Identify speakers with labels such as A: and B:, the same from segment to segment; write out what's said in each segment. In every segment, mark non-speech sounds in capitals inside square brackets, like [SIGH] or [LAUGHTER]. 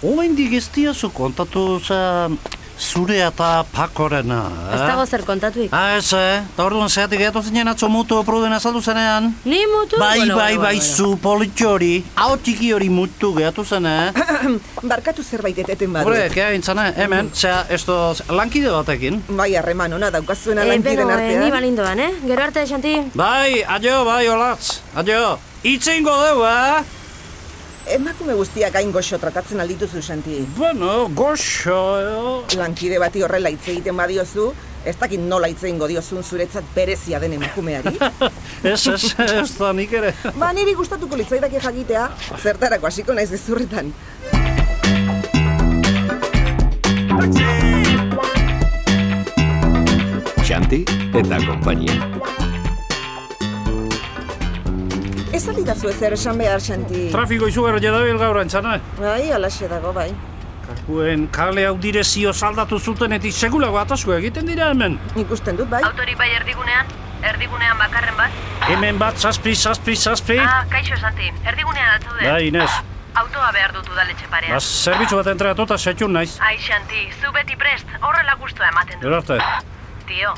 A: Oaindik ez diazu kontatu za zure eta pakorena.
B: Ez dago zer kontatuik.
A: Ha, ez, eh? Eta orduan zeatik eto zinen atzo mutu pruden azaldu zenean.
B: Ni mutu?
A: Bai,
B: Bueno,
A: bai,
B: bueno,
A: bai,
B: bueno.
A: zu politxori, hau txiki hori mutu gehatu zen,
B: [COUGHS]
A: eh?
C: Barkatu zerbait eteten badu.
A: Horek, eh, intzana, hemen, zea, ez doz, lankide batekin.
C: Bai, harreman ona daukazuen
B: Eh,
C: alankiden
B: beno, eh, ni
C: artean.
B: balindoan, eh? Gero arte, Xanti.
A: Bai, adio, bai, olatz, adio. Itzengo dugu, eh?
C: Emakume guztiak hain goxo tratatzen aldituzu, Santi.
A: Bueno, goxo, eh?
C: Lankide bati horrela hitz egiten badiozu, ez dakit nola hitz egingo diozun zuretzat berezia den emakumeari.
A: Ez, ez, ez da nik
B: [LAUGHS]
A: ere.
C: ba, niri gustatuko litzaidake jakitea, zertarako hasiko naiz izurretan.
D: Xanti eta konpainia.
C: Ez aldidazu ezer esan behar, Santi.
A: Trafiko izugarria dabil gaur, eh? intzana.
C: Bai, alaxe dago, bai.
A: Kakuen kale hau direzio saldatu zutenetik segulago atasko egiten dira hemen.
C: Ikusten dut, bai.
E: Autori bai erdigunean, erdigunean bakarren bat.
A: Hemen bat, zazpi, zazpi, zazpi.
E: Ah, eh. kaixo Santi, erdigunean altzaude.
A: Bai, Inez.
E: Autoa behar dut udaletxe parean.
A: Bas, zerbitzu bat entregatuta setxun naiz.
E: Ai, Santi, zu beti prest, horrela gustua ematen dut.
A: Gero arte.
E: Tio,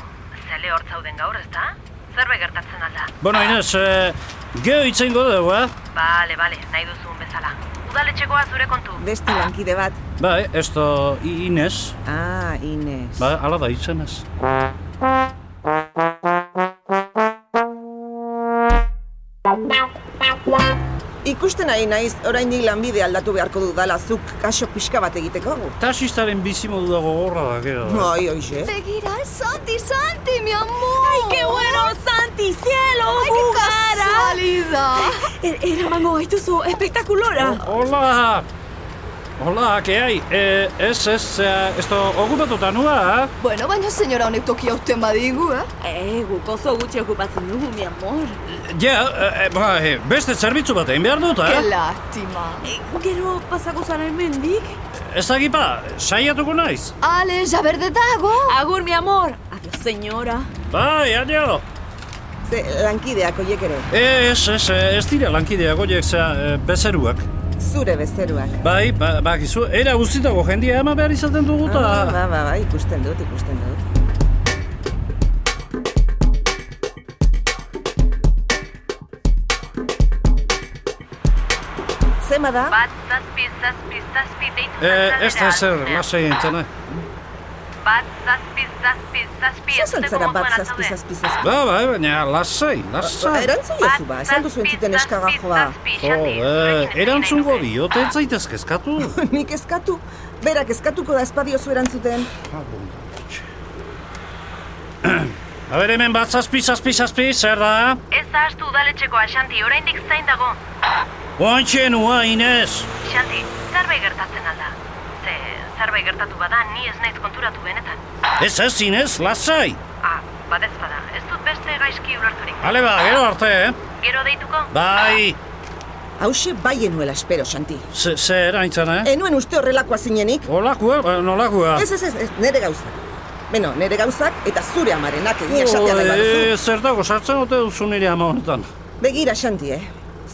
E: zele hor zauden gaur, ezta? Zerbe gertatzen alda.
A: Bueno, Inez, eh, geho itzengo dugu, eh?
E: Bale, bale, nahi duzun bezala. Udaletxekoa zure kontu.
C: Beste lankide bat.
A: Bai, ez da I- Inez.
C: Ah, Inez.
A: Ba, ala da izenez.
C: Ikusten ari naiz, oraindik lanbide aldatu beharko dudala zuk kaso pixka bat egiteko.
A: Taxistaren bizimodu dago gorra da, gero.
C: Bai, oixe.
F: Seguirá Santi, Santi, mi amor. Ay, qué bueno, Santi, cielo, Ay, qué casualidad.
B: Er, Eramango gaituzu espektakulora.
A: Hola! Hola, que hay? Eh, ez, ez, eh, ez da okupatuta nua, eh?
F: Bueno, baina señora honek tokia uste badigu, eh?
B: Eh, guk oso gutxi okupatzen dugu, mi amor.
A: Ja, eh, bai, beste zerbitzu bat egin behar dut,
F: Qué
A: eh?
F: lástima.
B: Eh, Gero pasako zara hemendik.
A: Ez da gipa, saiatuko naiz.
F: Ale, ja berde dago.
B: Agur, mi amor. Adiós, señora.
A: Bai, adio!
C: Ze lankideak hoiek ere,
A: Ez, ez, eh, ez dira lankideak horiek zea eh, bezeruak.
C: zure bezeruak.
A: Bai, ba, bakizu, era guztitako jendia eman behar izaten dugu
C: Ah,
A: eta...
C: ba, ba, ba, ikusten dut, ikusten dut. Zema da?
E: Bat, zazpi, zazpi, zazpi, deitu
A: Eh,
E: zazalera.
A: ez da zer, lasai eh. entzana.
E: Bat, zazpi, zazpi, zazpi,
C: Zazan
E: entzuteko
C: zara bat
E: moduan
C: zazpi,
E: altzaude.
C: zazpi, zazpi. Ba,
A: Ba, bai, baina lasai, lasai.
C: Erantzun jozu ba, esan duzu entzuten ba. eskagajoa.
A: Jo, eh, erantzungo diot, ez zaitezke eskatu.
C: [LAUGHS] Nik eskatu, berak eskatuko da espadiozu erantzuten.
A: A ber, hemen bat zazpi, zazpi, zazpi, zer da?
E: Ez ahaztu udaletxeko Xanti, oraindik zain dago.
A: Oantxe nua, Inez!
E: Xanti, zerbait gertatzen alda. Ze, zerbait gertatu bada, ni ez naiz konturatu benetan.
A: Ez ez, Inez, lasai!
E: Ah, badez bada, ez dut beste gaizki ulerturik.
A: Hale ba, gero arte, eh?
E: Gero deituko?
A: Bai,
C: Hause baienuela bai espero, Santi.
A: ze- zer aintzana, eh?
C: Enuen uste horrelakoa zinenik?
A: Olakua, ba, nolakua?
C: Ez, ez, ez, ez, nere gauza. Beno, nere gauzak eta zure amarenak egia esatea nahi baduzu.
A: Eh, zer dago, sartzen ote duzu nire ama honetan.
C: Begira, Xanti, eh?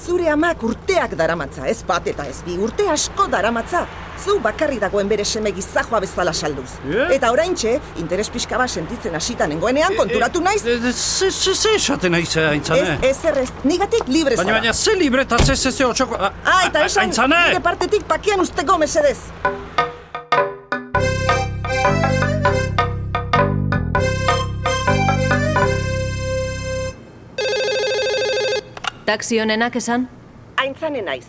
C: Zure amak urteak daramatza, ez bat eta ez bi, urte asko daramatza. Zu bakarri dagoen bere seme gizajoa bezala salduz.
A: Eh?
C: Eta oraintxe, interes pixka bat sentitzen hasita nengoenean konturatu naiz.
A: Eh, eh, Ze, ze, ze esaten naiz, eh, aintzane?
C: Ez, ez errez, nigatik libre
A: Baina,
C: zara.
A: baina, ze libreta, ze, ze, ze, otxoko... a-
C: Ah, eta
A: a-
C: esan,
A: Aintzane!
C: nire partetik pakian usteko mesedez.
B: Taxi honenak esan?
C: Aintzanen naiz.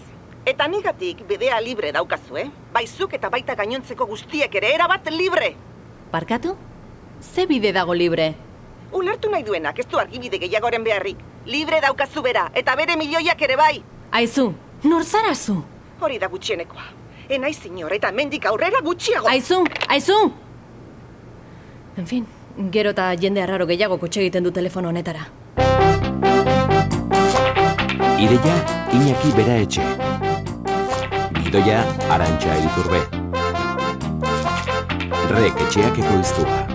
C: Eta nigatik bidea libre daukazu, eh? Baizuk eta baita gainontzeko guztiek ere, erabat libre!
B: Barkatu? Ze bide dago libre?
C: Ulertu nahi duenak, ez du argibide gehiagoren beharrik. Libre daukazu bera, eta bere milioiak ere bai.
B: Aizu, nor zara zu?
C: Hori da gutxienekoa. Enaiz inor, eta mendik aurrera gutxiago.
B: Aizu, aizu! En fin, gero eta jende arraro gehiago kutxe egiten du telefono honetara.
D: Ideia Iñaki Bera Etxe. Gidoia Arantxa Iturbe. Rek etxeak ekoiztua.